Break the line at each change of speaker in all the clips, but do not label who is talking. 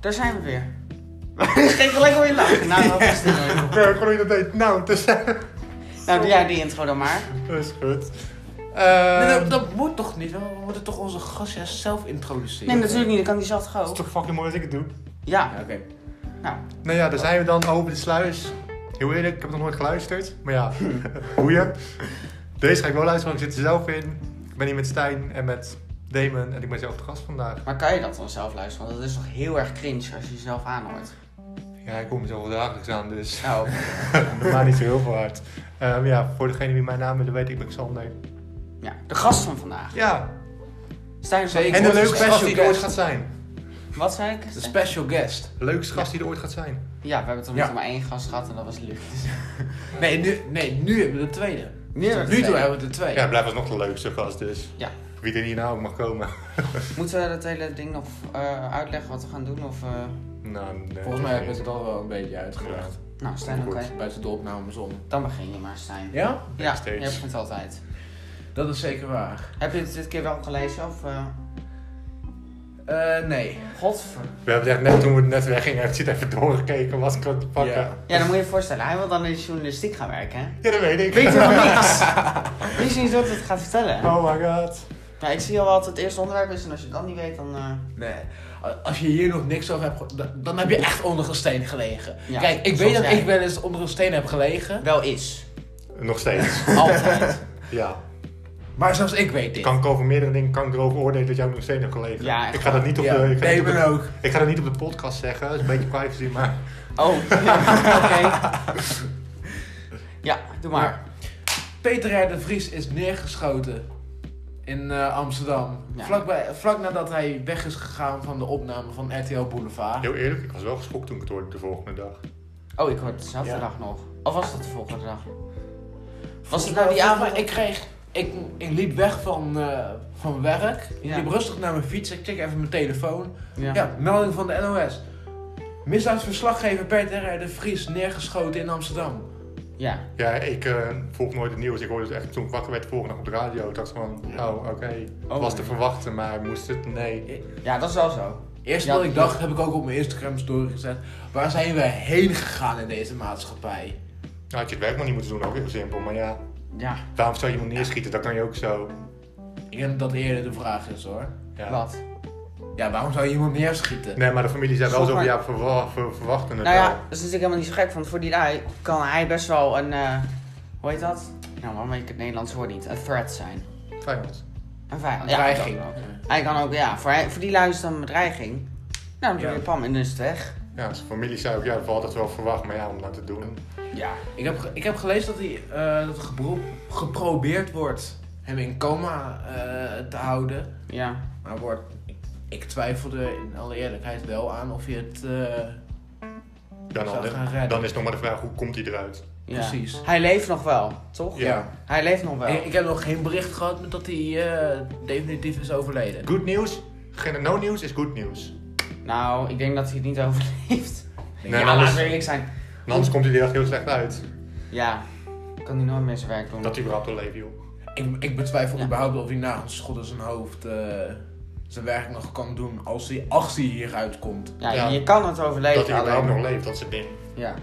Daar zijn we weer. Ik ging gelijk al in lachen. Nou, dat is dit nou, joh.
Nee, gewoon dat deed. Nou, dus.
Nou, doe jij die intro dan maar.
dat is goed.
Nee,
Eh,
dat, dat moet toch niet? We moeten toch onze gast zelf introduceren?
Nee, natuurlijk niet. Dan kan die zelf
dat is
gewoon.
toch fucking mooi als ik het doe.
Ja,
Ja, Oké.
nou.
Nou ja, daar zijn we dan over de sluis. Heel eerlijk, ik heb nog nooit geluisterd. Maar ja, boeien. Deze ga ik wel luisteren, want ik zit er zelf in. Ik ben hier met Stijn en met Damon en ik ben zelf de gast vandaag.
Maar kan je dat dan zelf luisteren? Want dat is toch heel erg cringe als je jezelf aanhoort.
Ja, ik kom mezelf wel dagelijks aan, dus
Nou,
dat maakt niet zo heel veel uit. Ehm, ja, voor degene die mijn naam willen weten, ik ben Xander.
ja. De gast van vandaag.
Ja,
Stijn van
Zeker.
en de
word
leukste
een
gast die er ooit
gast.
gaat zijn.
Wat zei ik?
De special guest.
De leukste gast die er ooit gaat zijn.
Ja, we hebben toch
Ja.
nog maar één gast gehad en dat was Luc. Dus-
Nee, nu, nee, nu hebben we de tweede.
Nu hebben we de
Tot nu
tweede.
toe hebben we de tweede.
Ja, blijf alsnog de leukste gast dus.
Ja.
Wie er hierna ook mag komen.
Moeten we dat hele ding nog eh, uitleggen wat we gaan doen? Of, eh,
Nou, nee.
Volgens mij heb ik het al wel een beetje uitgelegd.
Nou, Stijn, oké.
Buiten de opnames om.
Dan begin je maar, Stijn.
Ja?
Ja,
Backstage.
je begint altijd.
Dat is zeker waar.
Heb je het dit keer wel gelezen? Of, eh
Eh, nee.
Godver.
We hebben het echt net toen we net weggingen, heeft hij het even doorgekeken, was ik aan het pakken.
Ja.
Ja.
Ja, dan moet je je voorstellen, hij wil dan in de journalistiek gaan werken, hè?
dat weet ik.
Weet je van niks? Wist je niet wat het gaat vertellen? hè?
Oh my god.
Nou, ik zie al wat het eerste onderwerp is en als je dat niet weet, dan... eh,
Nee. Als je hier nog niks over hebt, ge- dan- dan heb je echt onder een steen gelegen.
Ja,
Kijk, ik
zoals
weet dat
jij.
ik wel eens onder een steen heb gelegen.
Wel is.
Nog steeds.
Altijd.
ja.
maar zelfs ik weet dit.
Kan ik over meerdere dingen kan ik erover oordelen dat jij ook nog steeds hebt geleverd.
Ja, echt
ik ga dat niet op
Ja,
de. Ik ga,
nee,
niet op
ben
de
ook.
ik ga dat niet op de podcast zeggen, dat is een beetje privacy, maar.
Oh, oké. Ja, doe maar.
Peter R. de Vries is neergeschoten in eh, Amsterdam.
Ja.
Vlak, bij, vlak nadat hij weg is gegaan van de opname van RTL Boulevard.
Heel eerlijk, ik was wel geschokt toen ik het hoorde de volgende dag.
Oh, ik hoorde het dezelfde
Ja.
dag nog. Of was dat de volgende dag? Was het
Nou,
nou die
ja, maar
avond?
ik kreeg... Ik, ik liep weg van, eh, van werk.
Ja.
Ik liep rustig naar mijn fiets. Ik check even mijn telefoon. Ja,
Ja.
melding van de NOS. Misdaadsverslaggever Peter R. de Vries neergeschoten in Amsterdam.
Ja.
Ja, ik eh, volg nooit het nieuws. Ik hoorde het echt toen ik wakker werd de volgende dag op de radio. Ik dacht van, oh oké,
Oh,
was te
nee.
verwachten, maar moest het? Nee.
Ja, dat is wel zo.
Eerst
Ja,
wat ik
dat-
dacht, heb ik ook op mijn Instagram story gezet. Waar zijn we heen gegaan in deze maatschappij?
Nou, had je het werk maar niet moeten doen, ook heel simpel. Maar ja,
Ja,
waarom zou je iemand neerschieten? Dat kan je ook zo.
Ik denk dat dat eerder de vraag is hoor.
Ja.
wat?
Ja, waarom zou je iemand neerschieten?
Nee, maar de familie zei wel
Schat
zo van,
maar-
ja, verwa- ver- verwachten het
Nou ja,
wel.
dat is natuurlijk helemaal niet zo gek, want voor die guy kan hij best wel een, eh, hoe heet dat? Nou, waarom weet ik het Nederlands woord niet? Een threat zijn.
Vijand.
Een vijand. Ja,
Dreiging.
dat ook. Hij kan ook, ja, voor, hij- voor die lui is het dan een bedreiging. Nou, dan doe je
Ja.
pam en dan is het weg.
Ja, zijn familie zei ook, ja, we hadden het wel verwacht, maar ja, om dat te doen.
Ja.
Ik, heb, ge- ik heb gelezen dat, hij, eh, dat er gebro- geprobeerd wordt hem in coma eh, te houden.
Ja.
Maar wordt, ik, ik twijfelde in alle eerlijkheid wel aan of je het... eh,
Ja, dan,
Zou gaan redden.
dan is nog maar de vraag, hoe komt hij eruit?
ja.
Precies.
Hij leeft nog wel, toch?
Ja. Eh,
Hij leeft nog wel.
Ik, ik heb nog geen bericht gehad met dat hij eh, definitief is overleden.
Good news, geen no nieuws is good nieuws.
Nou, ik denk dat hij het niet overleeft.
Nee,
ja,
maar anders-
laten we eerlijk zijn.
En anders komt hij er echt heel slecht uit.
Ja, kan hij nooit meer zijn werk doen.
Dat hij überhaupt wil leven, joh.
Ik, ik betwijfel
Ja.
überhaupt of hij na een schot in zijn hoofd eh, zijn werk nog kan doen als hij, als hij hieruit komt.
Ja,
Ja.
je kan het overleven.
Dat hij überhaupt
alleen-
nog leeft, dat is het ding.
Ja.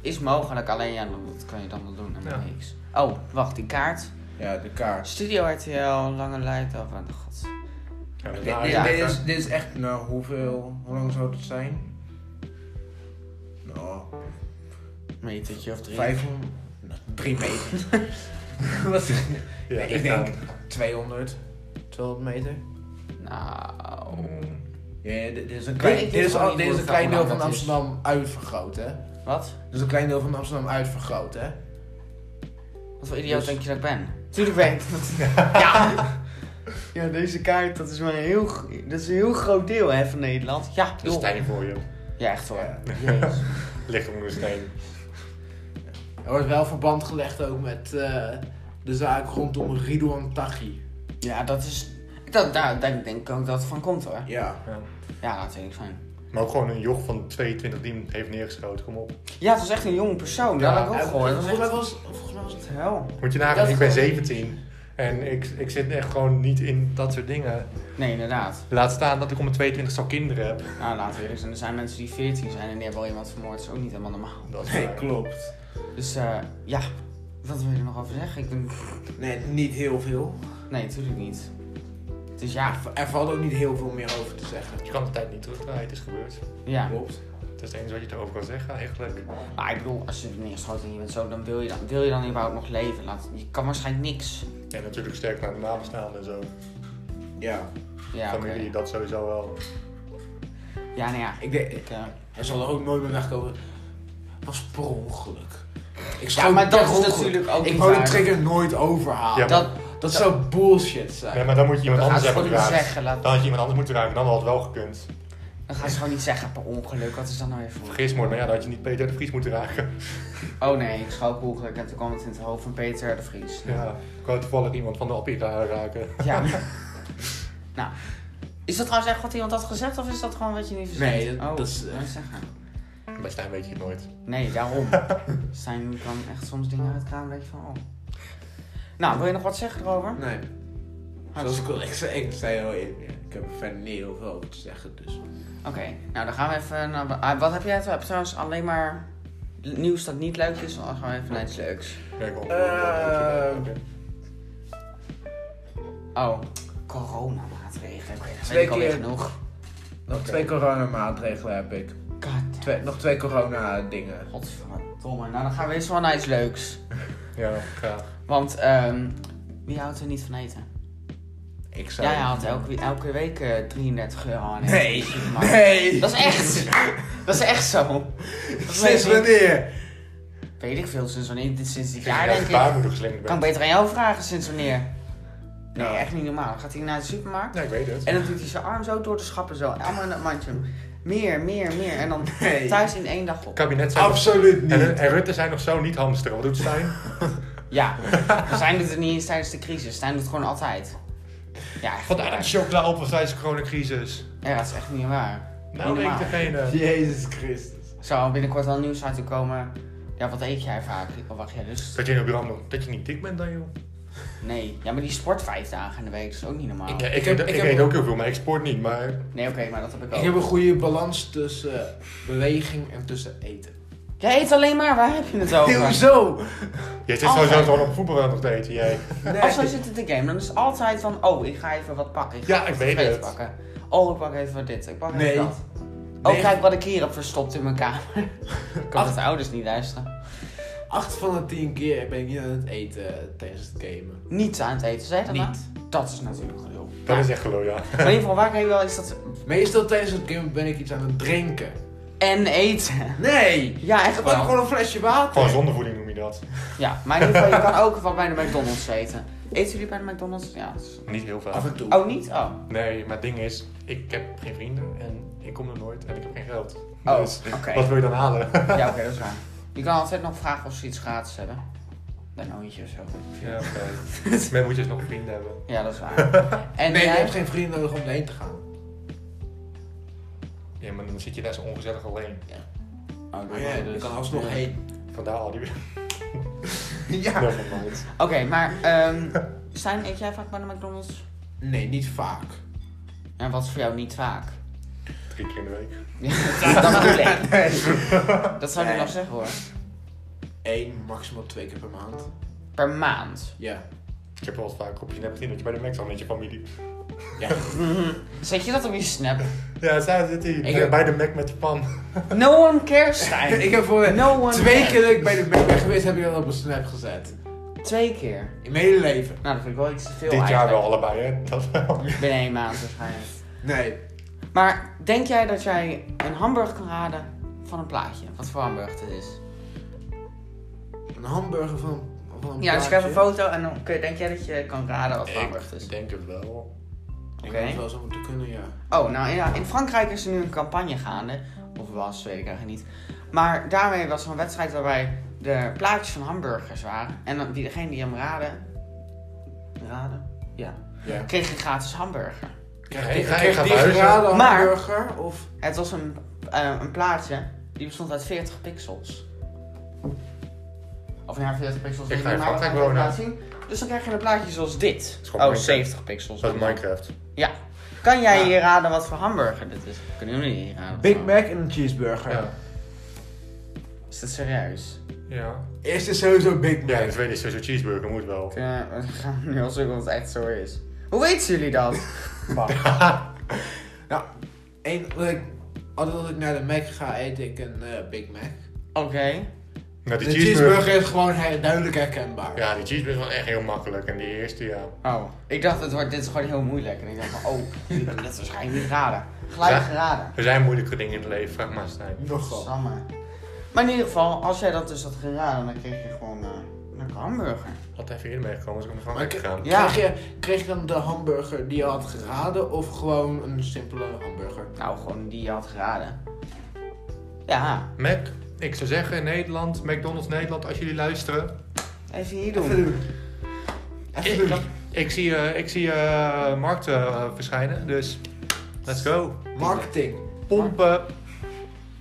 Is mogelijk, alleen ja, dat kan je dan wel doen en
Ja.
niks. Oh, wacht, die kaart.
Ja, de kaars.
Studio RTL, lange lijn oh mijn god.
Ja, dat
Dit,
nou,
dit-
ja.
dit is, dit is echt, nou, hoeveel, hoe lang zou dat zijn? Nou,
Metertje of drie.
500, nou, 3 meter. Wat?
ja,
Nee, ik
echt
denk
aan.
200, 200 meter.
Nou.
Ja, dit dit is een
ik
klein,
weet
dit is,
gewoon
al,
niet
dit is
hoe
een klein
lang
deel van
dat is.
Amsterdam uitvergroot, hè?
Wat?
Dit is een klein deel van Amsterdam uitvergroot, hè?
Wat voor idioot
Dus-
denk je dat ik ben? Tuurlijk ben ik dat. ja! Ja, deze kaart, dat is maar een heel, gro- dat is een heel groot deel hè, van Nederland. Ja,
Dat is
joh.
steen voor je.
Ja, echt hoor.
Ja.
Jezus.
Ligt onder de steen.
Er wordt wel verband gelegd ook met eh, de zaak rondom Ridouan Taghi.
Ja, dat is... Dat, daar denk, denk ik ook dat het van komt hoor.
Ja.
Ja, natuurlijk zijn.
Maar ook gewoon een joch van 22 die hem heeft neergeschoten, kom op.
Ja, het was echt een jonge persoon.
Ja,
Dat had ik ook gehoord.
En
Dat
Volgens
was echt...
mij was, volgens mij was het...
Hel.
Moet je
Dat
nagaan,
is
ik ben
gewoon-
17. En ik, ik zit echt gewoon niet in dat soort dingen.
Nee, inderdaad.
Laat staan dat ik om mijn 22 al kinderen heb.
Nou, laten we eerlijk zijn. Er zijn mensen die 14 zijn en die hebben al iemand vermoord. Dat is ook niet helemaal normaal.
Dat eh, is
Nee,
waar.
klopt.
Dus eh, ja, wat wil je er nog over zeggen? Ik denk,
Nee, niet heel veel.
nee, natuurlijk niet. Dus
Ja,
ja,
v- er valt ook niet heel veel meer over te zeggen.
Je kan de tijd niet terugdraaien, het is gebeurd.
ja.
Klopt.
Dat is het enige wat je erover kan zeggen eigenlijk.
Maar ik bedoel, als je neergeschoten en je bent zo, dan wil je dan, wil je dan überhaupt nog leven. Laat, je kan waarschijnlijk niks.
En natuurlijk sterk naar de nabestaanden en zo.
Ja.
Ja, oké.
Familie, dat sowieso wel.
Ja, nou ja.
Ik denk,
Ik, eh,
er zal er ook nooit meer wegkomen. Het was per ongeluk. Ik
ja, maar dat is
per ongeluk.
natuurlijk ook
Ik
niet
wou die
waar.
trigger nooit overhalen.
Ja, maar-
Dat,
dat zou bullshit zijn.
Nee, maar dan moet je iemand
dat gaan
anders
ze gewoon
hebben
niet
geraakt.
zeggen. Laat,
Dan had je iemand anders moeten ruimen, dan had het wel gekund.
dan gaan ze gewoon niet zeggen per ongeluk. Wat is dat nou weer voor?
Vergismoord, maar ja, dan had je niet Peter de Vries moeten raken.
Oh nee, ik schoot per ongeluk en toen kwam het in het hoofd van Peter de Vries.
Ja, ik wou toevallig iemand van de Appira raken.
Ja. nou, is dat trouwens echt wat iemand had gezegd of is dat gewoon wat je niet verstaat?
Nee, dat-
oh,
dat is, eh,
wou ik zeggen.
Bij Stijn weet je het nooit.
Nee, daarom. Zijn kan echt soms dingen uit het raam, weet je van, oh. Nou, wil je nog wat zeggen erover?
Nee. Zoals ik al ik zei, ik zei al in. Ik heb er verder niet heel veel over te zeggen, dus.
Oké, nou dan gaan we even naar... ah, wat heb jij heb je trouwens alleen maar nieuws dat niet leuk is? Dan gaan we even naar iets leuks.
Kijk op.
Eh.
Ehm. Oh, coronamaatregelen. Oké, dat weet
Twee
ik alweer
keer.
genoeg.
Nog twee coronamaatregelen heb ik.
God,
Twee, nog twee corona-dingen.
godverdomme. Nou, dan gaan we eerst wel naar iets leuks.
Ja, graag.
Want, ehm wie houdt er niet van eten?
Ik zou.
Jij haalt elke, elke week eh, 33 euro aan eten.
Nee!
Supermarkt.
Nee!
Dat is echt! Dat is echt zo. Dat
Sinds
weet, ik,
wanneer?
weet ik veel, sinds wanneer? Dit- Sinds dit
Ik
jaar
vind
denk
dat je
ik.
baarmoedig slim
Kan ik
bent.
beter aan jou vragen sinds wanneer? Nee,
Ja.
echt niet normaal. Dan gaat hij naar de supermarkt
Ja, ik weet het.
en dan doet hij zijn arm zo door de schappen zo. Allemaal in dat mandje. Meer, meer, meer. En dan
Nee.
thuis in één dag op.
Kabinet zijn nog...
Absoluut
en,
niet.
en Rutte zijn nog zo niet hamster. Wat doet Stijn?
Ja, Stijn doet het niet eens tijdens de crisis. Stijn doet het gewoon altijd. Ja, echt.
Wat
niet
eigenlijk
waar.
chocola op of tijdens de coronacrisis?
Ja, dat is echt niet waar.
Nou, denk ik
Normaal.
degene.
Jezus Christus.
Zou binnenkort wel nieuws uit te komen. Ja, wat eet jij vaak? Of wacht jij dus?
Dat je in de bureau moet. Dat je niet dik bent dan, joh.
Nee. Ja, maar die sport vijf dagen in de week. Dat is ook niet normaal.
Ik, eh, ik,
heb-
ik,
ik heb-
eet ook heel veel, maar ik sport niet. Maar
Nee, oké, maar dat heb ik ook.
Ik heb een goede balans tussen eh, beweging en tussen eten.
Jij eet alleen maar, waar heb je het over?
Hoezo?
je zit
Altijd.
sowieso gewoon op voetbal aan het eten, jij.
Als
Nee.
wij zitten te gamen, dan is het altijd van, oh, ik ga even wat pakken. Ik ga
Ja,
even
ik
wat
weet
vet
het.
Pakken. Oh, ik pak even wat dit, ik pak
Nee.
even dat. Oh,
Nee.
kijk wat ik hier heb verstopt in mijn kamer. kan
Ach.
het ouders niet luisteren.
8 van de 10 keer ben ik niet aan het eten eh, tijdens het gamen.
Niets aan het eten, zei je dat nou? Dat is natuurlijk gelul.
Dat is echt geloof, ja.
Maar in ieder geval, waar kan je wel is dat...
Meestal tijdens het gamen ben ik iets aan het drinken.
En eten.
Nee!
Ja, echt
Dat was
wel.
gewoon een flesje water.
Gewoon zondevoeding noem je dat.
Ja, maar in ieder geval, je kan ook wel bij de McDonald's eten. Eten jullie bij de McDonald's? Ja. dat is-
Niet heel
Af
vaak.
en toe.
Oh, niet? Oh.
Nee, maar het ding is, ik heb geen vrienden en ik kom er nooit en ik heb geen geld.
Oh,
Dus
oké.
wat wil je dan halen?
Ja, oké, dat is waar. Je kan altijd nog vragen of ze iets gratis hebben. Bij een oontje of zo.
ja, oké. Men moet je eens dus nog een vriend hebben.
Ja, dat is waar. En
nee, je
jij?
hebt geen vrienden nodig om heen te gaan.
Ja, maar dan zit je daar zo ongezellig alleen.
Oh, dat
Maar ja,
is
je
dus-
kan alsnog
Ja.
heen.
Vandaar al die...
Ja.
Nevermind.
Oké, maar ehm Stijn, eet jij vaak bij de McDonald's?
Nee, niet vaak.
En wat is voor jou niet vaak?
Drie keer in de week.
Ja, dat bedoel ik.
Nee.
Dat zou ik
Nee.
nog zeggen hoor.
Eén, maximaal twee keer per maand.
Per maand.
Ja.
Ik heb wel eens vaak op je net gezien dat je bij de Mac zat met je familie.
Ja.
Zet je dat op je snap?
Ja, daar zit hij.
Ik heb-
Bij de Mac met je pan.
No one cares, Stijn.
ik heb voor
No one
twee
cares.
keer dat ik bij de Mac ben geweest, heb ik dat op een snap gezet.
Twee keer.
In mijn hele leven.
Nou, dat vind ik wel iets te veel
Dit jaar
eigenlijk.
wel allebei, hè? Dat wel.
Binnen één maand waarschijnlijk.
Nee.
Maar denk jij dat jij een hamburger kan raden van een plaatje? Wat voor hamburger het is?
Een hamburger van, van een
Ja, dus ik heb een
plaatje.
foto en dan kun je- denk jij dat dus. je kan raden wat voor hamburger het is?
Ik denk het wel.
Ik
Oké.
had het wel zo moeten kunnen, ja.
Oh, nou ja, in Frankrijk is er nu een campagne gaande. Of was, weet ik eigenlijk niet. Maar daarmee was er een wedstrijd waarbij de plaatjes van hamburgers waren. En dan, wie- degene die hem raden... Raden? Ja.
Ja.
Kreeg een gratis hamburger.
Ja,
Ik
ik ga- ik
kreeg
ga
die
verhuizen.
geraden
Maar-
hamburger of...
Het was een, eh, een plaatje die bestond uit 40 pixels. Of nou ja, 40 pixels.
Ik
weet
ga
niet,
in
maar
Frankrijk
dat kan ik
wonen.
laten zien. Dus dan krijg je een plaatje zoals dit. Oh,
is gewoon Minecraft.
70 pixels.
Dat is Minecraft.
Ja. Kan jij
Ja.
hier raden wat voor hamburger dit is? Kunnen jullie hier raden?
Big Mac en een cheeseburger.
Ja.
Is dat serieus?
Ja.
Eerst is sowieso Big
Ja,
Mac.
in Zweden is sowieso cheeseburger, moet wel.
Kunnen we we gaan nu al zoeken of het echt zo is. Hoe weten jullie dat?
Maar- nou, één, wat ik, altijd als ik naar de Mac ga, eet ik een eh, Big Mac.
Oké.
Nou,
De
die
cheeseburger,
cheeseburger.
is gewoon he- duidelijk herkenbaar.
Ja, die cheeseburger is wel echt heel makkelijk. En die eerste, ja.
Oh, ik dacht, het wordt, dit is gewoon heel moeilijk. En ik dacht van, oh, jullie kunnen dit waarschijnlijk niet raden. Gelijk
Ja.
geraden.
Er zijn moeilijke dingen in het leven, vraag maar Stijn.
Nogal.
Samme. Maar in ieder geval, als jij dat dus had geraden, dan kreeg je gewoon eh, een hamburger.
Had even eerder meegekomen, dus ik ben
Maar
gewoon
ik-
gegaan.
Ja.
Kreeg, je, kreeg je dan de hamburger die je had geraden of gewoon een simpele hamburger?
Nou, gewoon die je had geraden. Ja,
Mac, ik zou zeggen in Nederland, McDonald's Nederland, als jullie luisteren.
even hier
Even
doen.
doen. Even
Ik,
doen.
ik zie, eh, ik zie eh, markten eh, verschijnen, dus let's go.
Marketing.
Pompen.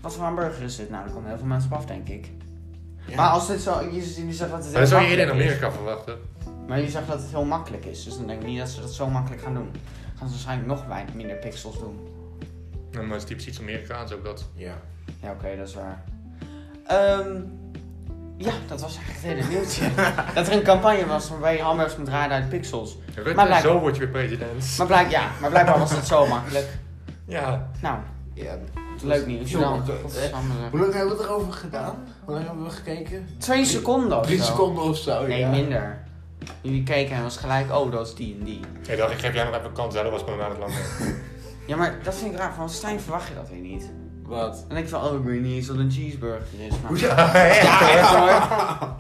Wat voor hamburger is dit nou? Daar komen heel veel mensen op af, denk ik.
Ja.
Maar als dit zo, jullie jullie zeggen dat het
Dat
heel
zou je
makkelijk
eerder in
is.
Amerika verwachten.
Maar jullie zeggen dat het heel makkelijk is, dus dan denk ik niet dat ze dat zo makkelijk gaan doen. Dan gaan ze waarschijnlijk nog weinig minder pixels doen.
Nou, maar het is typisch iets Amerikaans ook dat.
Ja.
Ja, oké, dat is waar. Ehm, ja, dat was eigenlijk het hele nieuwtje. dat er een campagne was waarbij je hamburgers moet raden uit pixels.
Rutte,
Maar blijkbaar-
zo word je weer president.
Maar, blijk, ja, maar blijkbaar was dat zo makkelijk.
Ja,
Nou,
ja.
leuk nieuws.
Heel
Dan.
makkelijk.
Godsamme.
Hoe lang hebben we erover gedaan? Hoe lang hebben we gekeken?
Twee seconden of
eh, Drie
zo.
seconden of zo.
Nee,
ja.
minder. Jullie keken en was gelijk, oh, dat is die en die.
ik dacht, ik geef jij nog even een kans, hè, dat was gewoon aan het lang.
Ja, maar dat vind ik raar. Van Stijn verwacht je dat weer niet.
Wat?
Dan denk ik van, oh, ik weet niet eens wat een cheeseburger is. Maar...
Ja, ja.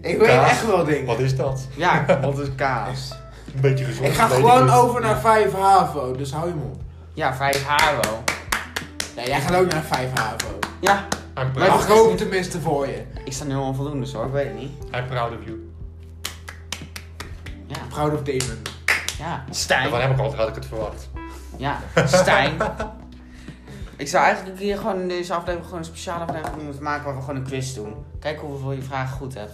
Ik weet
Kaas.
echt wel dingen.
Wat is dat?
Ja, wat is kaas?
Een beetje gezond.
Ik ga
een beetje
gewoon
goed.
over naar 5 HAVO, dus hou je mond.
Ja, vijf haro.
Nee, jij gaat ook naar 5 HAVO.
Ja,
I'm
Maar-
proud,
Mag ik hoop tenminste voor je.
ik sta nu al voldoende hoor, ik weet het niet.
I'm proud of you.
Ja,
Proud of Damon.
ja.
En
Stijn.
van hem ook altijd had ik het verwacht.
Ja, Stijn. Ik zou eigenlijk hier gewoon in deze aflevering gewoon een speciale aflevering moeten maken waar we gewoon een quiz doen. Kijk hoeveel je vragen goed hebt.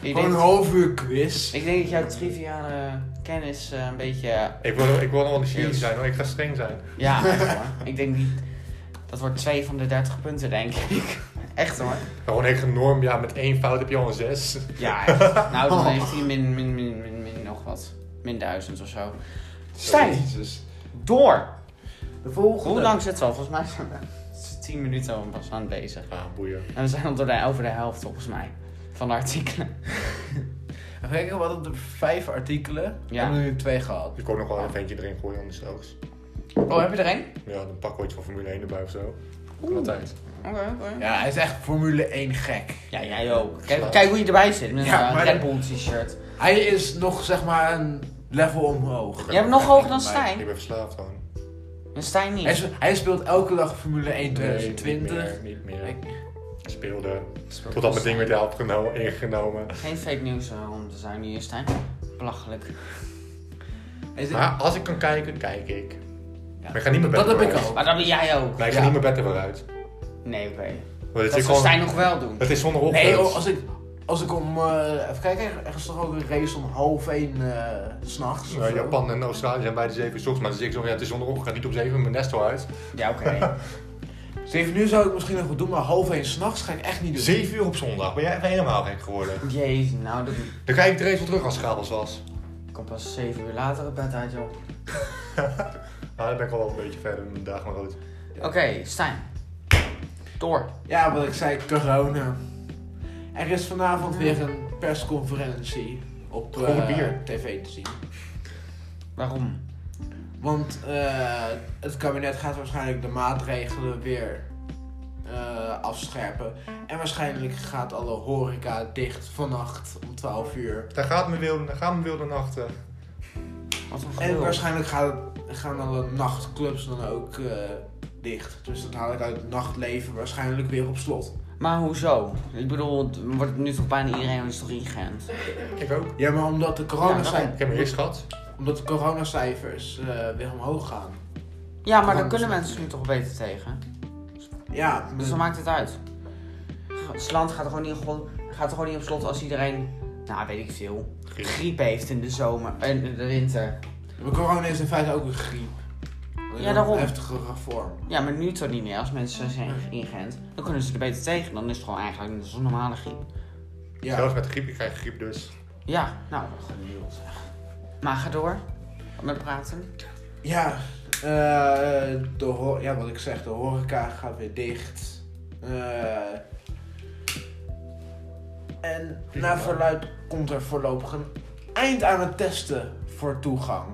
Ik
Gewoon een
denk,
half uur quiz.
ik denk dat jouw triviale kennis eh, een beetje... eh,
Ik wil, ik wil nog wel de jury
Yes.
zijn hoor, ik ga streng zijn.
Ja, echt hoor. Ik denk niet... Dat wordt twee van de 30 punten, denk ik. Echt hoor.
Gewoon echt een norm, ja, met één fout heb je al een zes.
Ja, echt. Nou, dan heeft hij min, min, min, min, min nog wat. Min duizend of zo. Stijn,
Jezus.
door!
De volgende.
Hoe lang zit het al? Volgens mij zijn we 10 minuten al pas aan het bezig.
Ah, boeien.
En we zijn al door de, over de helft volgens mij van de artikelen.
Even kijken, we hadden er vijf artikelen. We
Ja.
hebben er nu twee gehad.
Ik kon nog wel een ventje erin gooien anders straks.
Oh, heb je er één?
Ja, dan pak ik ooit van Formule 1 erbij of zo. Kan altijd.
Oké, oké.
Ja, hij is echt Formule 1 gek.
Ja, jij ook. Kijk, kijk hoe je erbij zit met
Ja,
een eh,
maar-
Red Bull t-shirt.
Hij is nog zeg maar een level omhoog.
Jij bent nog hoger dan
Ik
Stijn.
ben verslaafd gewoon.
En Stijn niet.
Hij, is- hij speelt elke dag Formule 1
Nee,
2020.
niet meer, niet meer.
Ik-
Ik speelde. Totdat mijn ding werd afgenomen, ingenomen.
Geen fake nieuws eh, om te zijn hier, Stijn. Belachelijk.
Hij zit-
Maar als ik kan kijken, kijk ik.
Ja.
Maar ik ga niet meer
Dat
beter
heb ik
vooruit.
ook.
Maar dat ben jij ook.
Maar ik ga
Ja.
niet meer beter vooruit.
Nee, oké.
Want het
Dat
is
zou Stijn
gewoon...
nog wel doen.
Het is zonder ochtend.
Nee, joh, als ik, als ik om. eh, even kijken, er is toch ook een race om half eh, 1 s'nachts?
Ja, Japan en Australië zijn bij de 7 uur 's ochtends, maar dan zeg ik zo, ja, het is zonder ochtend, ga niet om 7 uur mijn nest al uit.
Ja, oké.
7 uur zou ik misschien nog wel doen, maar half 1 s'nachts ga ik echt niet doen.
7 uur op zondag, ben jij even helemaal gek geworden.
Jezus, nou, dat
Dan krijg ik de race wel terug als het Schabels was.
komt pas 7 uur later het bed uit, joh.
Nou, dan ben ik al wel een beetje verder in de dag, maar goed.
Oké, Stijn. Door.
Ja, wat ik zei, corona. Er is vanavond weer een persconferentie op eh,
Gewoon bier.
tv te zien.
Waarom?
Want eh, het kabinet gaat waarschijnlijk de maatregelen weer eh, afscherpen. En waarschijnlijk gaat alle horeca dicht vannacht om 12 uur.
Daar gaat mijn wilde, daar gaan mijn wilde nachten.
Wat een
En
gelul.
waarschijnlijk gaan, gaan alle nachtclubs dan ook eh, dicht. Dus dan haal ik uit het nachtleven waarschijnlijk weer op slot.
Maar hoezo? Ik bedoel, het wordt nu toch bijna iedereen is toch ingeënt?
Ik ook.
Ja, maar omdat de,
Ja,
coronacijfers,
daarom.
Ik heb me eerst gehad.
omdat de coronacijfers eh, weer omhoog gaan.
Ja, maar dan
Waarom
kunnen
is dat?
mensen nu toch beter tegen.
Ja,
Dus dan maakt het uit. Het land gaat er gewoon niet, gewoon- gaat er gewoon niet op slot als iedereen, nou weet ik veel, griep heeft in de zomer en in de winter.
Maar corona is in feite ook een griep. Alleen
Ja,
dan
daarom.
Een heftigere vorm.
Ja, maar nu toch niet meer. Als mensen zijn ingeënt, dan kunnen ze er beter tegen. Dan is het gewoon eigenlijk net als een normale griep.
Ja.
Zelfs met griep, ik krijg griep dus.
Ja, nou, genieuwd. Maar ga door. Met praten.
Ja, eh, de ho- ja, wat ik zeg, de horeca gaat weer dicht. Eh, en naar verluid komt er voorlopig een eind aan het testen voor toegang.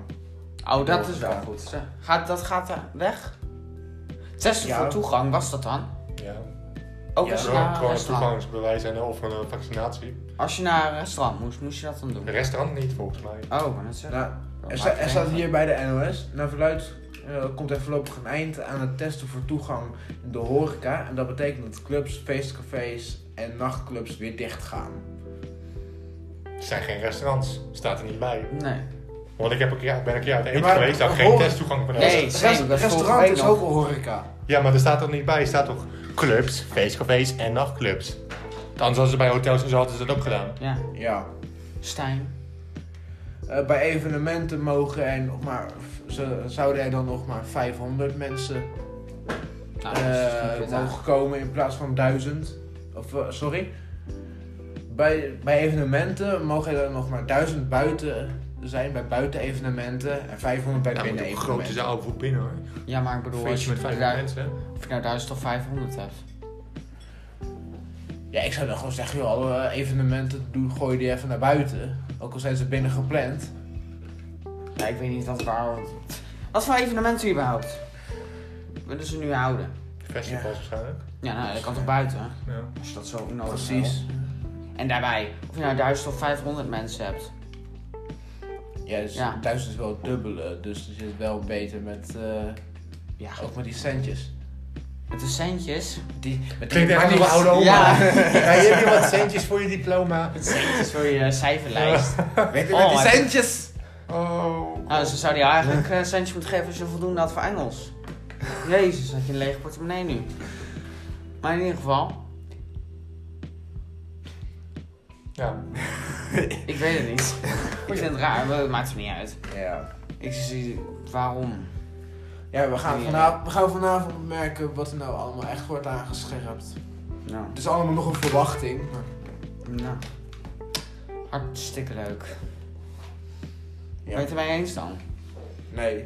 Oh, dat is wel goed. Zo. Gaat, dat gaat eh, weg. Testen
Ja.
voor toegang, was dat dan?
Ja.
Ook
Ja,
als je
Zo,
naar een
gewoon een
restaurant.
toegangsbewijs en of een eh, vaccinatie.
Als je naar een restaurant moest, moest je dat dan doen.
De restaurant niet, volgens mij.
Oh, maar dat is
Nou, er, sta- er staat hier bij de NOS, naar verluid eh, komt er voorlopig een eind aan het testen voor toegang in de horeca. En dat betekent dat clubs, feestcafés en nachtclubs weer dicht gaan.
Er zijn geen restaurants. Staat er niet bij.
Nee.
Want ik heb een keer, ben een keer uit eten
Maar-
geweest, daar had ik
hoor-
geen testtoegang voor nodig.
Nee, zeker, dat is volgens
restaurant
mij
is
nog.
ook een horeca.
Ja, maar er staat toch niet bij? Er staat toch clubs, feestcafés en nachtclubs? Anders hadden ze bij hotels en zo hadden ze dat ook gedaan.
Ja.
Ja.
Stijn.
Eh, bij evenementen mogen en nog maar, ze, zouden er dan nog maar 500 mensen
Nou, dat is
eh,
natuurlijk weer
mogen komen in plaats van 1000. Of eh, sorry. Bij, bij evenementen mogen er nog maar 1000 buiten zijn, bij buitenevenementen en 500 bij
Ja, maar
binnen
een grote
evenementen.
zaal voor binnen hoor.
daar. Ja, maar ik bedoel, als
Feestje
je,
met 500
daar,
mensen.
of je nou 1000 of 500 hebt.
Ja, ik zou dan gewoon zeggen, joh, alle eh, evenementen doen, gooi die even naar buiten. Ook al zijn ze binnen
Oh,
gepland.
Ja, ik weet niet dat waar. Wat voor evenementen überhaupt? Willen ze nu houden?
Festivals
Ja.
waarschijnlijk.
Ja, nou, dat kan toch buiten? hè?
Ja.
Als je dat zo nodig
Precies.
wil. En daarbij, of je nou 1000 of 500 mensen hebt.
Ja, dus
Ja.
1000 is wel het dubbele, dus het zit wel beter met, eh,
Ja,
ook met die centjes.
met de centjes.
Die, met
Klinkt echt als een
maar
oude oma.
Ja.
Ja, je hebt hier wat centjes voor je diploma.
Met centjes voor je eh, cijferlijst.
Weet je,
Oh,
met die
maar-
centjes.
Oh.
Nou, ze zou die eigenlijk eh, centjes moeten geven als je voldoende had voor Engels. Jezus, had je een lege portemonnee nu. Maar in ieder geval,
Ja.
ik weet het niet. Ik vind het raar, maar dat maakt het niet uit.
Ja.
Ik zie waarom.
Ja, we gaan, vanavond, we gaan vanavond merken wat er nou allemaal echt wordt aangescherpt.
Nou,
Het is allemaal nog een verwachting. maar-
nou. Hartstikke leuk. Ben je
Ja.
het ermee eens dan?
Nee.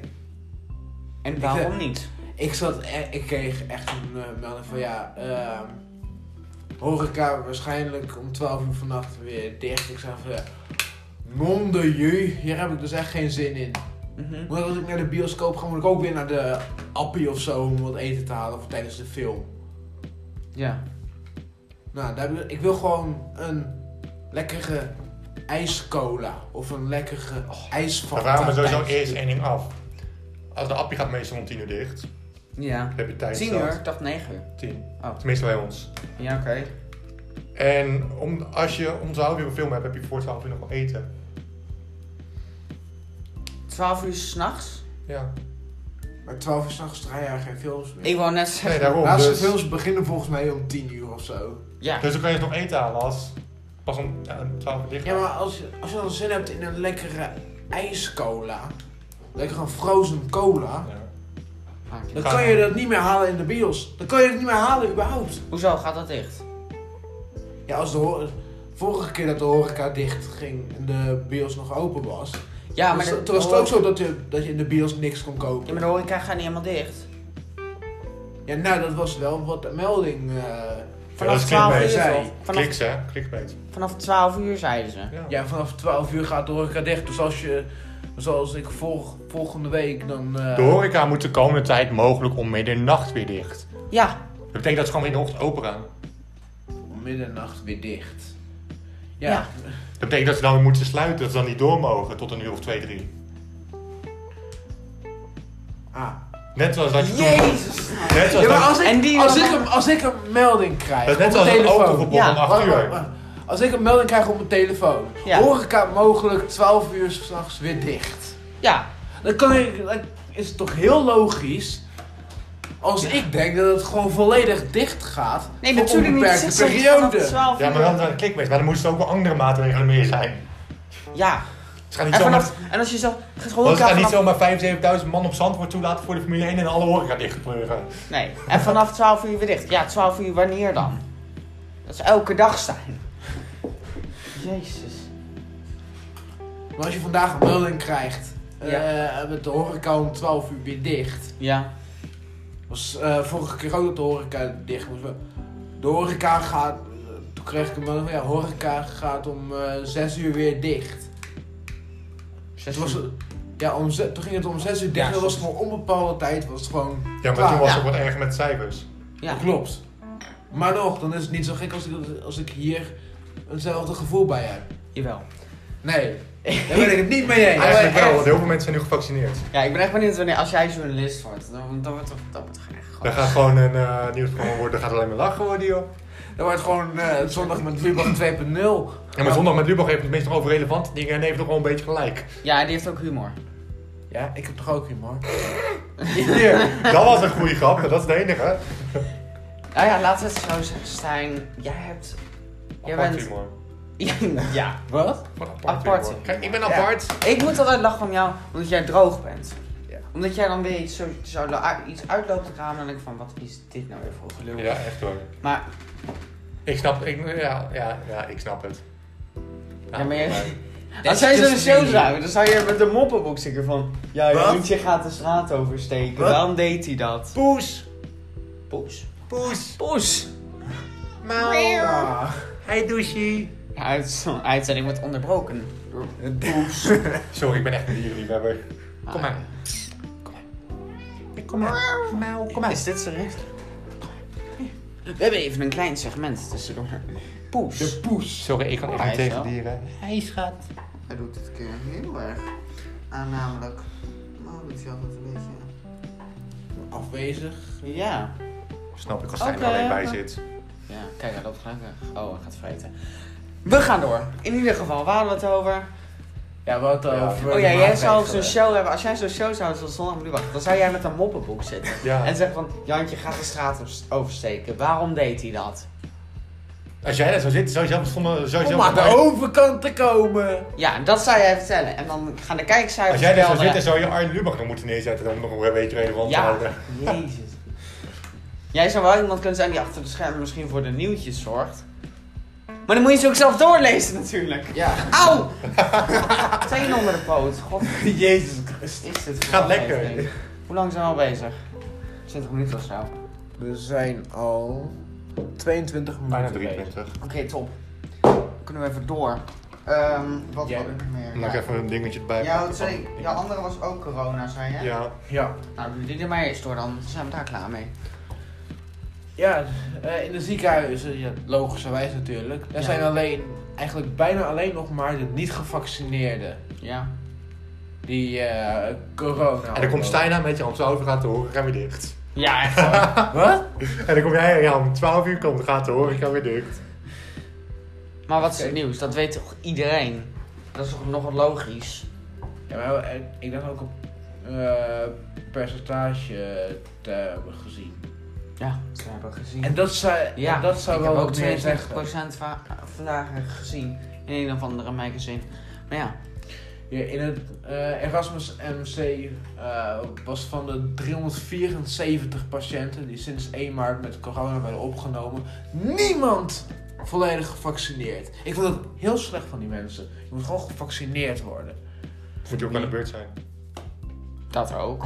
En
Ik,
waarom
eh,
niet?
Ik, zat, e- ik kreeg echt een eh, melding van ja, ehm horeca waarschijnlijk om 12 uur vannacht weer dicht. Ik zei van ja, non de ju, hier heb ik dus echt geen zin in.
Mhm.
Want als ik naar de bioscoop ga, moet ik ook weer naar de appie of zo om wat eten te halen voor tijdens de film.
Ja.
Nou, daar, wil- ik wil gewoon een lekkere ijscola of een lekkere
Dan
ijsfanta.
vragen we sowieso
tijdens-
eerst één ding af. Als de appie gaat meestal om 10 uur dicht, dan
Ja.
heb je tijd.
Tien uur? Ik dacht negen uur.
10.
Oh.
Tenminste bij ons.
Ja, oké.
En om, als je om 12 uur een film hebt, heb je voor 12 uur nog wel eten.
Twaalf uur s'nachts?
Ja.
Maar 12 uur s'nachts draaien er geen films meer.
Ik wou net zeggen...
Nee, daarom.
Laatste
dus,
films beginnen volgens mij om 10 uur of zo.
Ja.
dus dan kan je nog eten halen als pas om ja, 12 uur dicht
Ja, maar als je, als je dan zin hebt in een lekkere ijscola, lekker een frozen cola,
Ja.
Maakt niet
dan
uit.
kan je dat niet meer halen in de bios. Dan kan je het niet meer halen überhaupt.
Hoezo gaat dat dicht?
Ja, als de ho- vorige keer dat de horeca dicht ging en de bios nog open was,
Ja, maar...
Dus
de-
toen was het ook zo dat je, dat je in de bios niks kon kopen.
Ja, maar de horeca gaat niet helemaal dicht.
Ja, nou, dat was wel wat de melding. eh,
dat
Vanaf
is geen
12 uur,
meest.
zei-
Kliks
vanaf,
hè, kliksbeet.
vanaf 12 uur zeiden ze.
Ja.
ja, vanaf 12 uur gaat de horeca dicht. Dus als je, zoals ik volg, volgende week, dan. eh,
De horeca moet de komende tijd mogelijk om middernacht weer dicht.
Ja,
Dat betekent dat ze gewoon weer in de ochtend open gaan.
om middernacht weer dicht. Ja,
Ja.
Dat betekent dat ze dan weer moeten sluiten, dat ze dan niet door mogen tot een uur of twee, drie.
Ah.
Net zoals dat je toen...
Jezus.
Net zoals
Ja, maar
dat,
als
En
ik,
die-
als, ik een, als ik een melding krijg.
dat is net
op
zoals
mijn
een
telefoon.
autoverbod
Ja,
om acht
Wacht, wacht,
uur.
wacht. Als ik een melding krijg op mijn telefoon.
Ja.
Horeca mogelijk 12 uur s'nachts weer dicht.
Ja,
Dan, kan ik, dan is het toch heel logisch. Als ik denk dat het gewoon volledig dicht gaat.
nee,
voor
natuurlijk niet.
onbeperkte
Ze zeggen vanaf
periode.
12
Ja, maar
uur.
dan, dan klikbeet. Maar dan moesten ook wel andere maatregelen meer zijn.
Ja,
Ze gaan niet
En,
zomaar,
vanaf, en als je zelf gaat
want ze
horeca
gaan niet
vanaf,
zomaar 75.000 man op zand worden toelaten voor de Formule 1 en alle horeca dichtpleuren.
nee, en vanaf 12 uur weer dicht. Ja, 12 uur wanneer dan? Dat zou elke dag zijn. Jezus.
Maar als je vandaag een melding krijgt, eh,
Ja.
met de horeca om 12 uur weer dicht.
Ja,
Was eh, vorige keer ook dat de horeca dicht moest. De horeca gaat, eh, toen kreeg ik een melding van ja, horeca gaat om eh 6 uur weer dicht.
zes
Het was,
uur.
ja, om, ze- toen ging het om 6 uur dicht,
Ja,
dat was gewoon onbepaalde tijd, was het gewoon
Ja, maar
klaar.
toen was
Ah, Ja.
het wat erger met cijfers.
Ja.
Klopt. Maar nog, dan is het niet zo gek als ik, als ik hier hetzelfde gevoel bij heb.
Jawel.
Nee, daar ben ik het niet mee eens.
Eigenlijk wel,
echt?
want heel veel mensen zijn nu gevaccineerd.
Ja, ik ben echt benieuwd wanneer, als jij journalist wordt, dan, dan wordt toch, dat wordt toch echt
Daar
gewoon...
gaat gewoon een eh nieuwsprogramma worden, daar gaat alleen maar lachen worden, joh.
Dan wordt gewoon eh, het zondag met Lubach 2.0.
En maar zondag met Lubach heeft het meestal over relevante dingen en heeft nog wel een beetje gelijk.
Ja, en die heeft ook humor.
Ja, ik heb toch ook humor. Hier.
Dat was een goede grap, dat is de enige.
Nou ja, laten we het zo zeggen, Stijn. Jij hebt... Jij
Apart
bent...
humor.
ja.
Wat?
Wat apart,
Apart.
humor. Kijk, ik ben
Ja.
apart.
Ik moet altijd lachen om jou, omdat jij droog bent.
Ja.
Omdat jij dan weer iets, zo, zo lu- iets uitloopt te ramen en dan denk ik van, wat is dit nou weer voor gelul?
Ja, echt hoor.
Maar,
Ik snap, ik, ja, ja, ja, ik snap het.
Ja, maar je- als
is
jij zo'n
just
show
me.
zou, dan zou je met de moppenboek zingen van... Ja, je
Wat?
hondje gaat de straat oversteken.
Wat?
Waarom deed hij dat?
Poes,
Poes.
poes,
Poes!
mauw,
Ah.
hij douchie.
Ja, uit zo'n uitzending wordt onderbroken.
Poes.
Sorry, ik ben echt een dierenliefhebber.
Ah.
Kom maar. Kom maar, mauw, kom maar.
Is dit serieus? We hebben even een klein segment tussendoor. Poes.
De poes.
Sorry, ik kan echt
Hij
niet
is
tegen
wel.
dieren. Hij schat.
Hij doet dit keer heel erg aan namelijk... Nou, doet hij altijd een beetje...
Afwezig.
Ja.
Snap ik als hij er
Oké.
alleen bij zit.
Ja, kijk, hij loopt gelijk weg. Oh, hij gaat vreten. We gaan door. In ieder geval, waar hadden we het over?
Ja, wat eh,
Ja.
over.
Oh
de
ja, jij zou zo'n
maatregelen.
show hebben. Als jij zo'n show zou zoals zondag nu wachten, dan zou jij met een moppenboek zitten.
Ja.
En zeggen van, Jantje gaat de straat over- oversteken. Waarom deed hij dat?
Als jij daar zou zitten, zou je zelf zonder...
Oh,
Zou je
Om
zelf
aan de overkant te komen.
Ja, dat zou jij vertellen. En dan gaan de kijkcijfers
Als jij daar zou
kelderen.
zitten, zou je Arjen Lubach nog moeten neerzetten om nog een beetje relevant te
Ja,
houden.
jezus. Jij zou wel iemand kunnen zijn die achter de schermen misschien voor de nieuwtjes zorgt. Maar dan moet je ze ook zelf doorlezen natuurlijk.
Ja.
Auw! Teen onder de poot. God,
Jezus.
is dit voor
Gaat
een
lekker.
aflevering? Hoe lang zijn we al bezig? 20 minuten of zo. Oké,
We zijn al 22 minuten.
Bijna
bezig.
23.
top. Dan kunnen we even door. Ehm, wat
Jij-
had ik nog meer?
Mag ik
Ja.
even een dingetje erbij
Jouw
pakken van-
twee, jouw andere was ook corona, zei je?
Ja.
Ja.
Nou, doe die er maar eerst door dan. Dan zijn we daar klaar mee.
Ja, eh, in de ziekenhuizen, ja, logischerwijs natuurlijk. Er
Ja.
zijn alleen, eigenlijk bijna alleen nog maar de niet-gevaccineerden
Ja.
die eh, corona.
En dan komt Stijn aan met je om 12 uur gaat de horeca weer dicht.
Ja, echt hoor.
Wat?
En dan kom jij ja, om 12 uur komt, gaat de horeca weer dicht.
Maar wat is het
Oké.
nieuws? Dat weet toch iedereen? Dat is toch nog wat logisch?
Ja, maar eh, ik dacht ook op eh, percentage te hebben gezien.
Ja, dat hebben we gezien.
En dat zou,
ja,
en dat zou
ik
wel
heb
wat
ook
meer zeggen.
22% va- vandaag gezien in een of andere magazine. Maar ja,
Ja, in het eh, Erasmus MC eh, was van de 374 patiënten die sinds 1 maart met corona werden opgenomen, niemand volledig gevaccineerd. Ik vond het heel slecht van die mensen. Je moet gewoon gevaccineerd worden.
Of moet je ook aan de beurt zijn.
dat ook.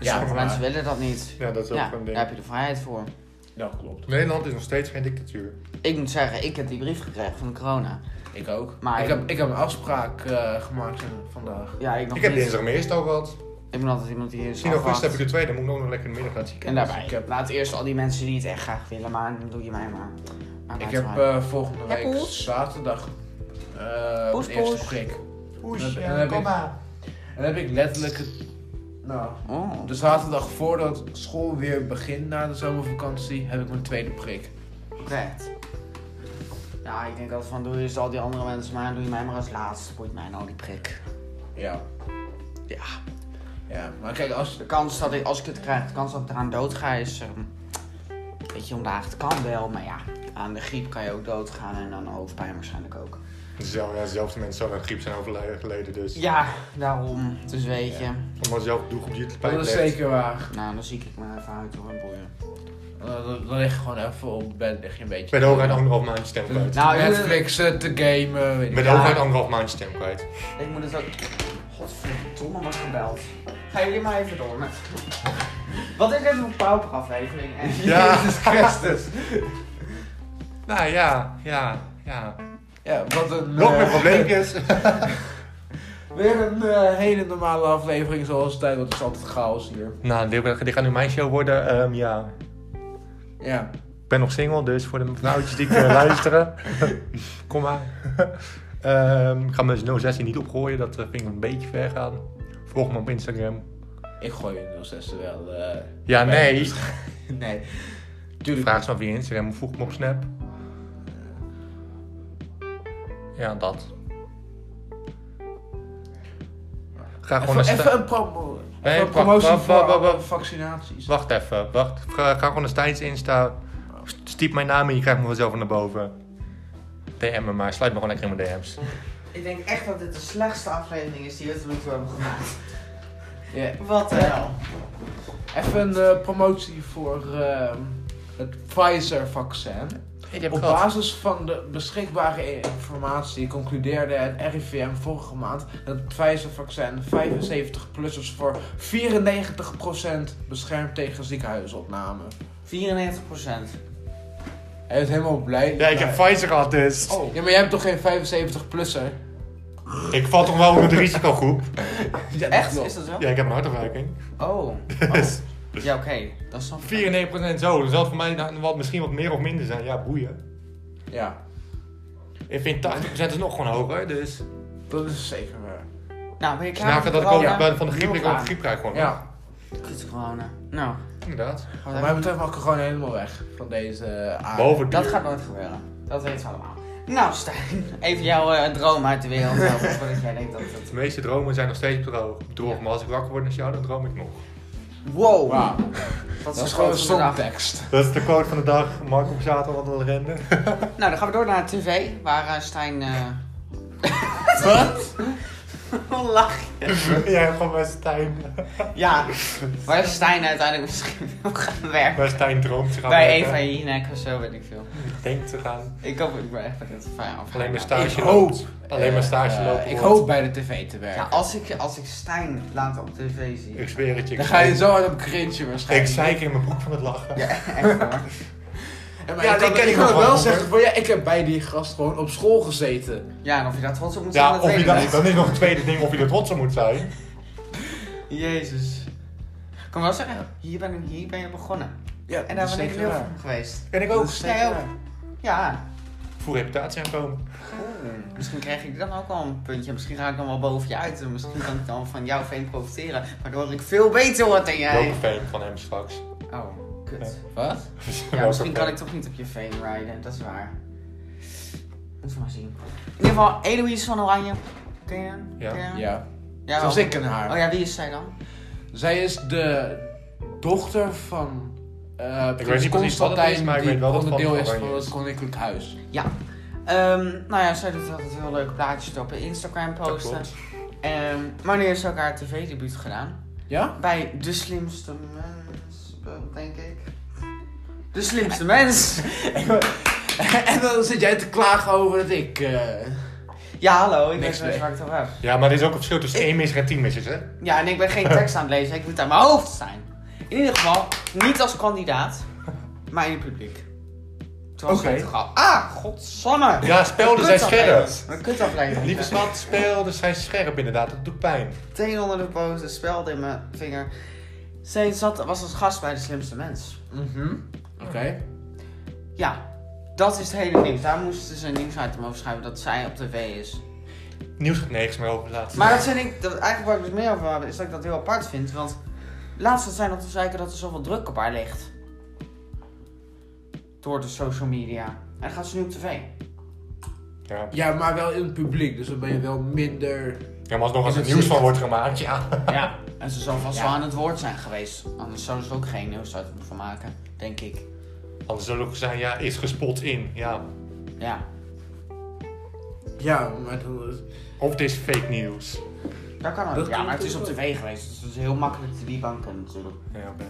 Ja,
Sommige
maar-
mensen willen dat niet.
Ja, dat is ook
Ja,
een
daar
ding.
heb je de vrijheid voor.
Dat klopt.
Nederland is nog steeds geen dictatuur.
Ik moet zeggen, ik heb die brief gekregen van corona.
Ik ook.
Maar-
ik, heb, ik heb een afspraak eh, gemaakt vandaag.
Ja, ik nog
ik heb
niet.
dinsdag mijn eerste al gehad.
Ik ben altijd iemand die is
In augustus heb ik de tweede, moet ik nog lekker in de middag naar het
En
ziekenhuis.
daarbij,
Ik heb-
laat eerst al die mensen die het echt graag willen, maar dan doe je mij maar. maar
Ik
laat
heb
maar.
eh, volgende
Ja,
week
poes.
zaterdag eh
Poes,
de eerste
poes.
prik.
Poes,
En dan heb ik-
kom maar.
En dan heb ik letterlijk het... Nou,
Oh.
Op de zaterdag voordat school weer begint na de zomervakantie, heb ik mijn tweede prik.
Vet. Ja, ik denk altijd van doe je al die andere mensen maar, doe je mij maar als laatste. Boeit mij nou die prik.
Ja.
Ja.
Ja, maar kijk, als...
De kans dat ik, als ik het krijg, de kans dat ik eraan dood ga is... ehm, weet je, ondaag het kan wel, maar ja, aan de griep kan je ook doodgaan en aan de hoofdpijn waarschijnlijk ook.
Zelf, ja, zelfs de mensen zo aan griep zijn overleden, dus...
Ja, daarom. Dus weet je.
Omdat zelf doe op je het pijn
Dat is
legt.
zeker waar.
Nou, dan zie ik maar even uit hoor, boeien.
Eh, Dan dan lig je gewoon even op bed, lig je een beetje.
Bij de hoogheid anderhalf maandje stem kwijt.
Nou, ik-
Netflixen, te gamen, weet ik
Bij de
Ja.
hoogheid anderhalf maandje stem kwijt.
Ik moet het ook... Godverdomme, wat gebeld. Ga jullie maar even door met... Wat is dit voor pauperaflevering? En
Ja.
Jezus Christus.
Nou ja, ja, ja.
Ja, wat een...
Nog
eh,
meer probleempjes.
Weer een eh, hele normale aflevering zoals altijd, want het is altijd chaos hier.
nou, dit, dit gaat nu mijn show worden. Ehm, ja.
Ja.
Ik ben nog single, dus voor de vrouwtjes die ik eh, luisteren. Kom maar. Ehm, ik ga mijn 016 niet opgooien, dat eh, vind ik een beetje ver gaan. Volg me op Instagram.
Ik gooi in 06 wel. eh,
Ja,
bij-
nee.
nee. Tuurlijk.
Vraag ze maar via Instagram of voeg me op Snap. Ja, dat. Ga gewoon naar
Even,
Stijn.
even een promo. even
Nee,
een
wacht,
promotie
wacht,
voor
wacht, wacht.
vaccinaties.
Wacht even, wacht. Ga, ga gewoon naar Stijn's Insta. St- Stiep mijn naam en je krijgt me vanzelf naar boven. DM me maar, sluit me gewoon lekker in mijn DM's.
Ik denk echt dat dit de slechtste aflevering is die we tot nu toe hebben gemaakt.
Ja.
Wat de hel.
Even een eh, promotie voor ehm, het Pfizer-vaccin.
Ik heb
Op basis van de beschikbare informatie concludeerde het RIVM vorige maand dat het Pfizer-vaccin 75-plussers voor 94% beschermt tegen ziekenhuisopname.
94 procent.
Hij is helemaal blij.
Ja, ik heb Pfizer gehad dus.
Oh.
Ja, maar jij hebt toch geen 75-plusser?
Ik val toch wel onder de risicogroep.
Ja,
Echt? Is dat zo?
Ja, ik heb een hartafwijking.
Oh.
Dus
Ja, oké. Dat is dan...
94% zo, dan zal het voor mij nou wat, misschien wat meer of minder zijn. Ja, boeien.
Ja,
Ik vind 80% is nog gewoon hoger, dus...
dat is zeker waar.
Nou, ben je
Dus
klaar
nadat
met
ik
corona?
ook ben van de griep, ik
Heel
ook
klaar.
griep krijg gewoon.
Ja,
Kut corona. Nou,
Inderdaad.
gaat
wat mij betreft mag ik gewoon helemaal weg van deze eh, aarde.
Boven
Dat
duur.
gaat nooit gebeuren. Dat weten we allemaal. Nou, Stijn, even jouw eh, droom uit de wereld helpen voordat jij denkt dat het.
De meeste dromen zijn nog steeds droog. droog. Maar als ik wakker word als jou, dan droom ik nog.
Wow!
Wauw,
Dat
dat
is
is gewoon een
grote dag.
songtekst.
Dat is de quote van de dag. Marco op zaterdag aan het rennen.
Nou, dan gaan we door naar tv, waar eh, Stijn. eh
Wat?
Wat lach je?
Jij hebt gewoon bij Stijn.
Ja, waar Stijn uiteindelijk misschien wil gaan werken.
Bij Stijn droomt ze gaan.
Bij
werken.
Eva Jinek of zo, weet ik veel.
Denkt te gaan.
Ik hoop, ik ben echt met het fijn af.
Alleen maar
staan.
stage
Ik
loopt.
hoop,
Alleen maar
eh,
stage
eh,
lopen.
ik
wordt.
hoop bij de tv te werken.
Ja, als ik, als ik Stijn later op tv zie.
Ik zweer het je.
Dan ga je zo hard op cringe
Ik
waarschijnlijk.
zeik in mijn broek van het lachen.
Ja, echt hoor.
Ja, maar
Ja,
ik
die
kan,
ken
ik
ik
kan
nog
wel
wel,
zeggen
hoor.
van ja, ik heb bij die gast gewoon op school gezeten.
Ja, en of je daar trots op moet zijn,
Ja,
dat
of
weet
je
ik
dat,
niet.
dan is nog een tweede ding of je er trots op moet zijn.
Jezus. Ik kan wel zeggen, hier ben, ik, hier ben je begonnen.
Ja,
En daar ben ik heel van geweest.
En ik
ook.
ook.
Dat is zeker waar. Ja.
Voor reputatie aankomen.
Oeh, Misschien krijg ik dan ook wel een puntje. Misschien ga ik dan wel boven je uit. En misschien kan ik dan van jouw fame profiteren. Waardoor ik veel beter word dan
Welke
jij.
fan van hem straks.
Oh, kut.
Wat?
Ja, misschien
Welke
kan ik
fan?
toch niet op je fame rijden. Dat is waar. Moeten we maar zien. In ieder geval, Eloise van Oranje. Ken je hem?
Ja.
Ken je hem?
Ja.
Ja,
Zoals
oh.
ik ken haar.
Oh ja, wie is zij dan?
Zij is de dochter van eh
weet
prins
niet precies wat het
Constantijn,
is, maar ik weet wel
die
dat het
onderdeel
van
is van
Oranje
het
is.
koninklijk huis.
Ehm, nou ja, zij doet altijd heel leuke plaatjes op Instagram
Dat
posten.
klopt.
Ehm, maar nu heeft ze ook haar tv-debuut gedaan.
Ja?
Bij de slimste mens, eh, denk ik. De slimste mens!
en dan zit jij te klagen over dat ik... eh,
Ja, hallo, ik
Niks
weet
mee.
waar ik het over heb.
Ja, maar er is ook een verschil tussen één misser en tien missers, hè?
Ja, en ik ben geen tekst aan het lezen, ik moet aan mijn hoofd zijn. In ieder geval, niet als kandidaat, maar in het publiek. Toen was
Oké.
het gauw. Ah, godsamme!
Ja, spelden zijn scherp.
Een kutaflevering.
Lieve schat, spelden zijn scherp inderdaad. Dat doet pijn.
Teen onder de poot, een speld in mijn vinger. Zij zat, was als gast bij de slimste mens.
mhm. Oké.
Ja, dat is het hele nieuws. Daar moesten ze een nieuwsitem over schrijven dat zij op tv is.
Nieuws gaat nergens meer over laten.
Maar dat vind ik, dat, eigenlijk waar ik het meer over heb, is dat ik dat heel apart vind. Want laatst had zij nog te zeiken dat er zoveel druk op haar ligt. Door de social media. En dan gaat ze nu op tv.
Ja.
Ja, maar wel in het publiek, dus dan ben je wel minder...
ja, maar alsnog als er
Is het
nieuws van
ziek?
wordt gemaakt, ja.
Ja, en ze zal vast
Ja.
wel aan het woord zijn geweest. Anders zouden ze er ook geen nieuwsitem van maken, denk ik.
Anders zou het ook zijn, ja, is gespot in. Ja,
Ja.
Ja, maar dan is...
Of het is fake nieuws.
Dat kan ook.
Dat
ja,
kan
maar het is op
natuurlijk
tv geweest, dus het is heel makkelijk te debanken natuurlijk.
Ja, oké.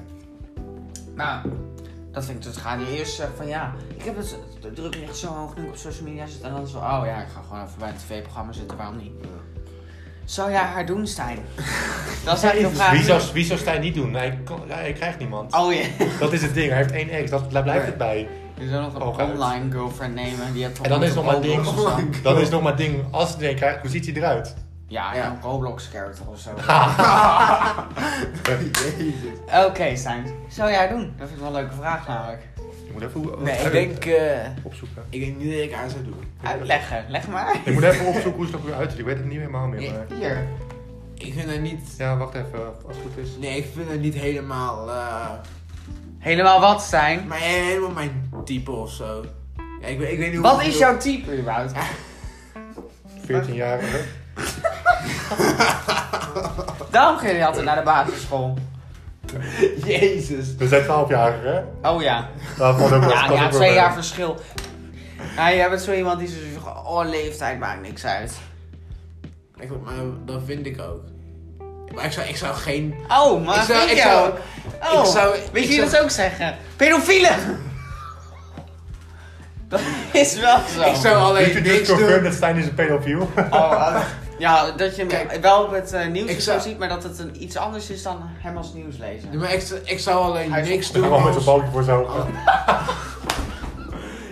Nou, dat vind ik dus gaan. Die eerst zegt van ja, ik heb het, de druk ligt zo hoog nu ik op social media zit. En dan zo, oh ja, ik ga gewoon even bij een tv-programma zitten, waarom niet? Zou jij haar doen, Stijn? dat is eigenlijk de vraag.
Wie zou, wie zou Stijn niet doen? Hij, kon- hij krijgt niemand.
Oh ja.
Dat is het ding. Hij heeft één ex. Dat, daar blijft het bij.
Oh
Je zou nog een
Oog uit.
online girlfriend nemen. Die hebt
Oh, En dan is nog maar ding.
Roblox
Oh
of zo.
Dat is nog maar ding. Als hij krijgt, hoe ziet hij eruit?
Ja,
Ja.
ja. een Roblox character of zo.
Jezus.
Oké, Stijn. Zou jij doen? Dat vind ik wel een leuke vraag namelijk.
Je moet even hoe-
Nee, ik denk, eh,
opzoeken.
ik denk niet dat ik aan zou doen.
Uitleggen. Leg maar.
Ik moet even opzoeken hoe ze er eruit ziet. Ik weet het niet helemaal meer. Maar...
Hier.
Ik vind dat niet...
Ja, wacht even. Als het goed is.
Nee, ik vind dat niet helemaal... eh,
Helemaal wat, Stijn?
maar helemaal mijn type of zo. Ja, ik, weet- ik weet niet hoe
Wat is jouw type überhaupt?
14 jaar. hè?
Daarom ging hij altijd naar de basisschool.
Jezus.
We zijn 12 jaar, hè?
Oh ja.
Dat valt ook wel.
Ja,
dat
ja
ook wel
twee
mee.
jaar verschil. Ja, jij bent zo iemand die zo zegt, oh leeftijd maakt niks uit.
Ik, maar dat vind ik ook. Maar ik zou, ik zou geen...
Oh, maar
Ik zou-
vind
ik
je
zou-
ook?
ik
Oh,
zou-
weet
ik
je wie
zou-
dat ook zeggen? Pedofielen! dat is wel zo.
Ik zou
Weet
alleen
je dus
niks doen.
confirm dat Stijn is een pedofiel?
Oh, eh, ja, dat je hem
Kijk,
wel op het eh, nieuws
ik
of
zou-
zo ziet, maar dat het een, iets anders is dan hem als nieuws lezen.
Nee, maar ik, zou- ik zou alleen
Hij is
niks doen
Gewoon met
als...
zijn balkje voor zijn ogen.
Oh.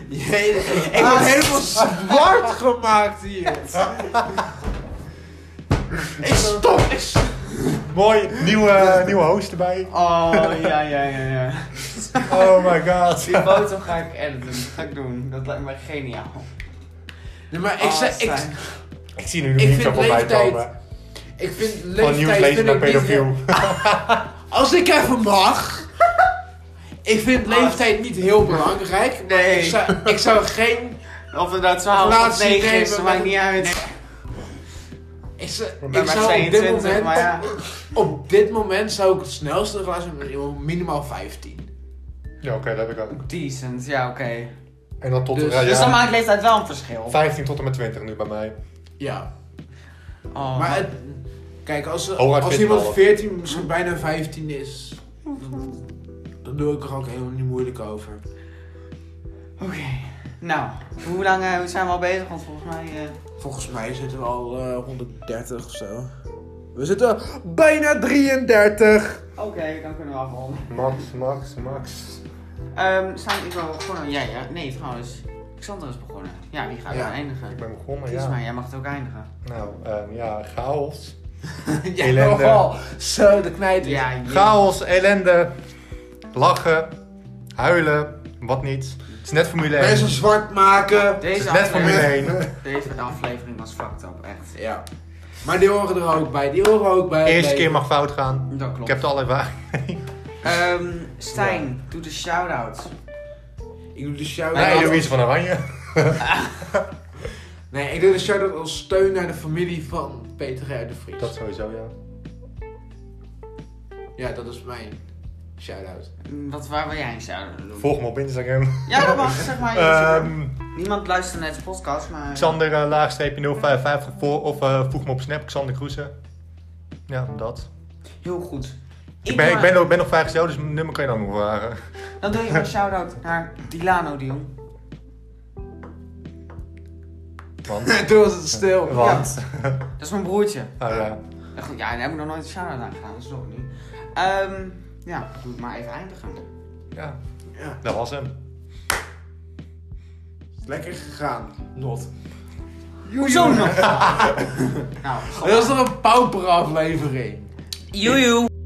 Jezus. Ik
Ah.
word helemaal zwart gemaakt hier. ik stop. Ik stop.
Mooi, nieuwe, nieuwe host erbij.
Oh, ja, ja, ja, ja.
Oh my god.
Die foto ga ik editen, dat ga ik doen. Dat lijkt me geniaal.
Nee, maar
Ah,
ik, zei- ik,
Stijn.
Ik zie nu de
Ik
nieuws
vind
al voorbij
leeftijd-
komen.
ik vind
Van nieuws
leeftijd
lezen
vind
naar
ik niet heel-
pedofiel.
Als ik even mag. Ik vind leeftijd niet heel belangrijk. maar
Nee.
Ik zou, ik zou geen...
Of het nou 12 of
Relatie
9 is,
nemen
dat
met
maakt niet
een-
uit.
Ik zou,
Maar
Ik ben
ik
maar
zou op dit
22,
moment...
maar ja.
Op dit moment zou ik het snelste relatie met iemand minimaal 15.
Ja, oké, dat heb ik ook.
Decent, ja, oké.
En dan tot
Dus-
ja, ja,
Dus dan maakt leeftijd wel een verschil.
15 tot en met 20 nu bij mij.
Ja.
Oh,
Maar het, kijk, als,
Hooguit
als
14
iemand
half.
14, misschien bijna 15 is, dan, dan doe ik er ook helemaal niet moeilijk over.
Oké. Nou, hoe lang eh, zijn we al bezig? Want volgens mij. eh,
Volgens mij zitten we al eh, 130 of zo. We zitten bijna 33.
Oké, dan kunnen we afronden.
Max, Max, Max.
Ehm Stijn, ik wil gewoon. Jij, ja, Nee, trouwens. Xander is begonnen. Ja, die gaat
Ja.
dan eindigen.
Ik ben begonnen,
Kies
ja.
maar, jij mag het ook eindigen.
Nou, ehm, ja, chaos.
ja,
Ellende.
nogal. Zo, de knijt is.
Oh, Ja, je-
Chaos, ellende, lachen, huilen, wat niet. Het is net Formule 1.
Mensen zwart maken.
Het is
Deze
net Formule
aflevering,
1.
deze aflevering was fucked up, echt.
Ja. Maar die horen er ook bij. Die horen ook bij.
Eerste
bij-
keer mag fout gaan.
Dat
Ik
klopt.
heb het al ervaren.
Ehm, Stijn, doe de shout-out.
Ik doe de shout-out.
Nee, Louise van Oranje.
Nee, ik doe de shout-out als steun naar de familie van Peter R. de Vries.
Dat sowieso, ja.
Ja, dat is mijn shout-out.
Mm, Wat, waar wil jij een shout-out doen?
Volg me op Instagram.
Ja, dat mag, zeg maar.
Ehm
Niemand luistert naar deze podcast, maar...
Xander eh, laagstreepje 055 voor- of eh, voeg me op Snap, Xander Kroesen. Ja, dat.
Heel goed.
Ik ben, ik
maak-
ben, nog- ben nog vrijgezel, dus mijn nummer kan je dan nog vragen.
Dan doe je een shout-out naar Dilano Dion.
Want.
Toen was het stil.
Want.
Dat is mijn broertje.
Ah, ja.
Ja, goed, ja, daar heb ik nog nooit een shout-out aan gedaan, dat is toch niet. Ehm, ja, doe het maar even eindigen.
ja,
Ja,
dat was hem.
lekker gegaan. Not.
Hoezo nog? nou,
Dat was toch een pauperaflevering?
joejoe.